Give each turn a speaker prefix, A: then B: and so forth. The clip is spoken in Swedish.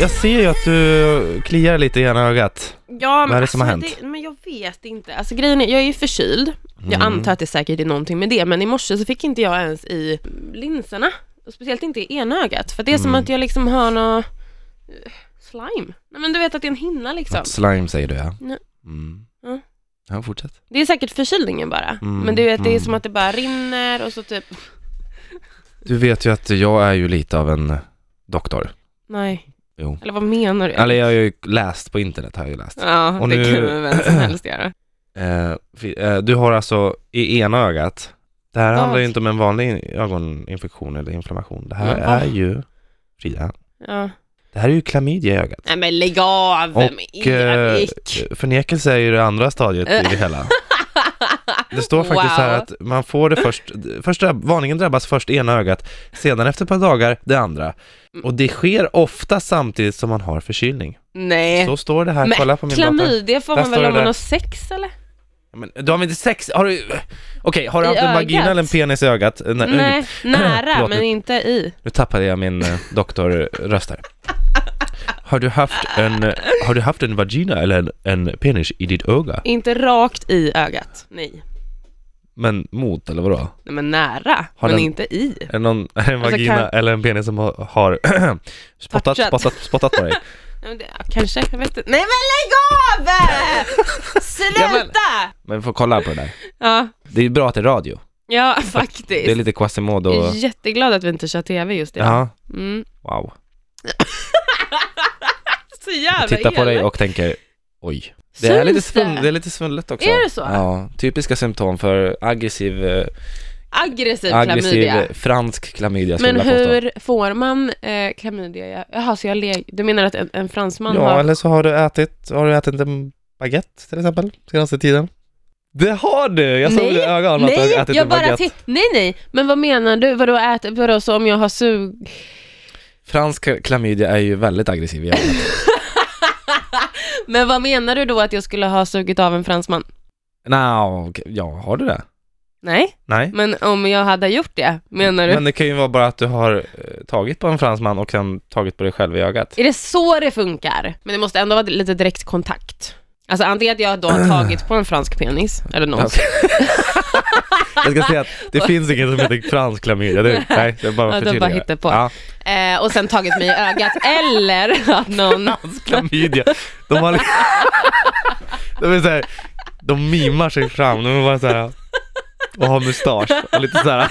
A: Jag ser ju att du kliar lite i ena ögat.
B: Ja, men
A: Vad är det som har
B: alltså,
A: hänt?
B: Det, men jag vet inte. Alltså grejen är, jag är ju förkyld. Jag
A: Mm.
B: antar att det säkert är någonting med det, men i morse så fick inte jag ens i linserna. Och speciellt inte i ena ögat, för det är som
A: Mm.
B: att jag liksom har något eh, slime. Nej men du vet att det är en hinna liksom.
A: Något slime säger du ja.
B: Nej.
A: Mm.
B: Ja.
A: Ja, fortsätt.
B: Det är säkert förkylningen bara.
A: Mm,
B: Men du vet, det är
A: mm.
B: som att det bara rinner och så typ,
A: Du vet ju att jag är ju lite av en doktor.
B: nej.
A: Jo.
B: Eller vad menar du?
A: Eller jag har ju läst på internet, har jag ju läst.
B: Ja,
A: Och
B: det
A: nu-
B: kan vem som helst göra.
A: Eh, fi- eh, du har alltså i ena ögat, det här
B: Ja.
A: handlar ju inte om en vanlig ögoninfektion eller inflammation. Det här
B: Ja.
A: är ju, Frida,
B: Ja.
A: det här är ju klamydia i ögat.
B: Nej men lägg av!
A: Och,
B: men Erik.
A: Eh, Förnekelse är ju det andra stadiet i det hela. Det står faktiskt
B: Wow.
A: här att man får det först, först drabb, varningen drabbas först ena ögat, sedan efter ett par dagar det andra.
B: Mm.
A: Och det sker ofta samtidigt som man har förkylning.
B: Nej.
A: Så står det här,
B: Eh, Men
A: kolla på min dator.
B: Klamydia får
A: Där
B: man väl
A: står det
B: om man
A: där.
B: har sex eller?
A: Men, du har väl inte sex, har du, okej, har du
B: I
A: haft en vagina
B: ögat?
A: eller en penis i ögat? Eh, nej,
B: Nej, nära
A: Förlåt,
B: men
A: nu-
B: inte i.
A: Nu tappade jag min eh, doktorröst här. Har du haft en, eh, har du haft en vagina eller en, en penis i ditt öga?
B: Inte rakt i ögat, nej.
A: Men mot eller vadå?
B: Nej men nära,
A: Har
B: men
A: den-
B: inte i.
A: Är det någon, är det en
B: Alltså,
A: vagina
B: kan-
A: eller en penis som har, har spottat,
B: Touchat.
A: spottat, spottat på dig?
B: Nej, men det, ja, kanske, jag vet inte. Nej men lägg av! Sluta!
A: Men vi får kolla på det där.
B: Ja,
A: Det är ju bra att det är radio.
B: ja faktiskt.
A: Det är lite Quasimodo.
B: Jag är jätteglad att vi inte kör tv just idag.
A: Ja,
B: Mm.
A: wow.
B: Så jävla
A: Titta på dig
B: elak.
A: och tänker oj. Det är,
B: Syns
A: lite svull,
B: det?
A: det är lite svullet också.
B: Är det så?
A: Ja, typiska symptom för aggressiv, eh,
B: Aggressiv,
A: aggressiv
B: Typ klamydia.
A: eh, fransk klamydia skulle
B: Men
A: jag vilja påstå.
B: hur får man eh, klamydia? Jaha, så jag leg... Du menar att en, en fransman
A: Ja,
B: har...
A: eller så har du ätit, har du ätit en baguette till exempel senaste tiden? Det har du! Jag såg
B: Nej,
A: i ögonen att du har
B: Nej,
A: ätit
B: jag
A: en
B: bara
A: baguette.
B: till, nej nej, men vad menar du? Vadå äter, vadå så om jag har sug...
A: Fransk klamydia är ju väldigt aggressiv i ögat.
B: Men vad menar du då att jag skulle ha sugit av en fransman?
A: Nå, okej. ja, har du det?
B: Nej,
A: Nej.
B: men om jag hade gjort det, menar du?
A: Men det kan ju vara bara att du har eh, tagit på en fransman och sen tagit på dig själv i ögat.
B: Är det så det funkar? Men det måste ändå vara lite direktkontakt. Alltså antingen att jag då har tagit på en fransk penis, eller något.
A: Alltså, Jag ska säga att det finns inget som heter fransk klamydia. Det, nej, det är bara
B: Ja, de bara
A: förtydligar.
B: hittar på.
A: Ja,
B: Eh, och sen tagit mig i ögat, eller att någon...
A: fransk klamydia. De har... De är så här, de mimar sig fram. De är bara så här och har mustasch och lite så här.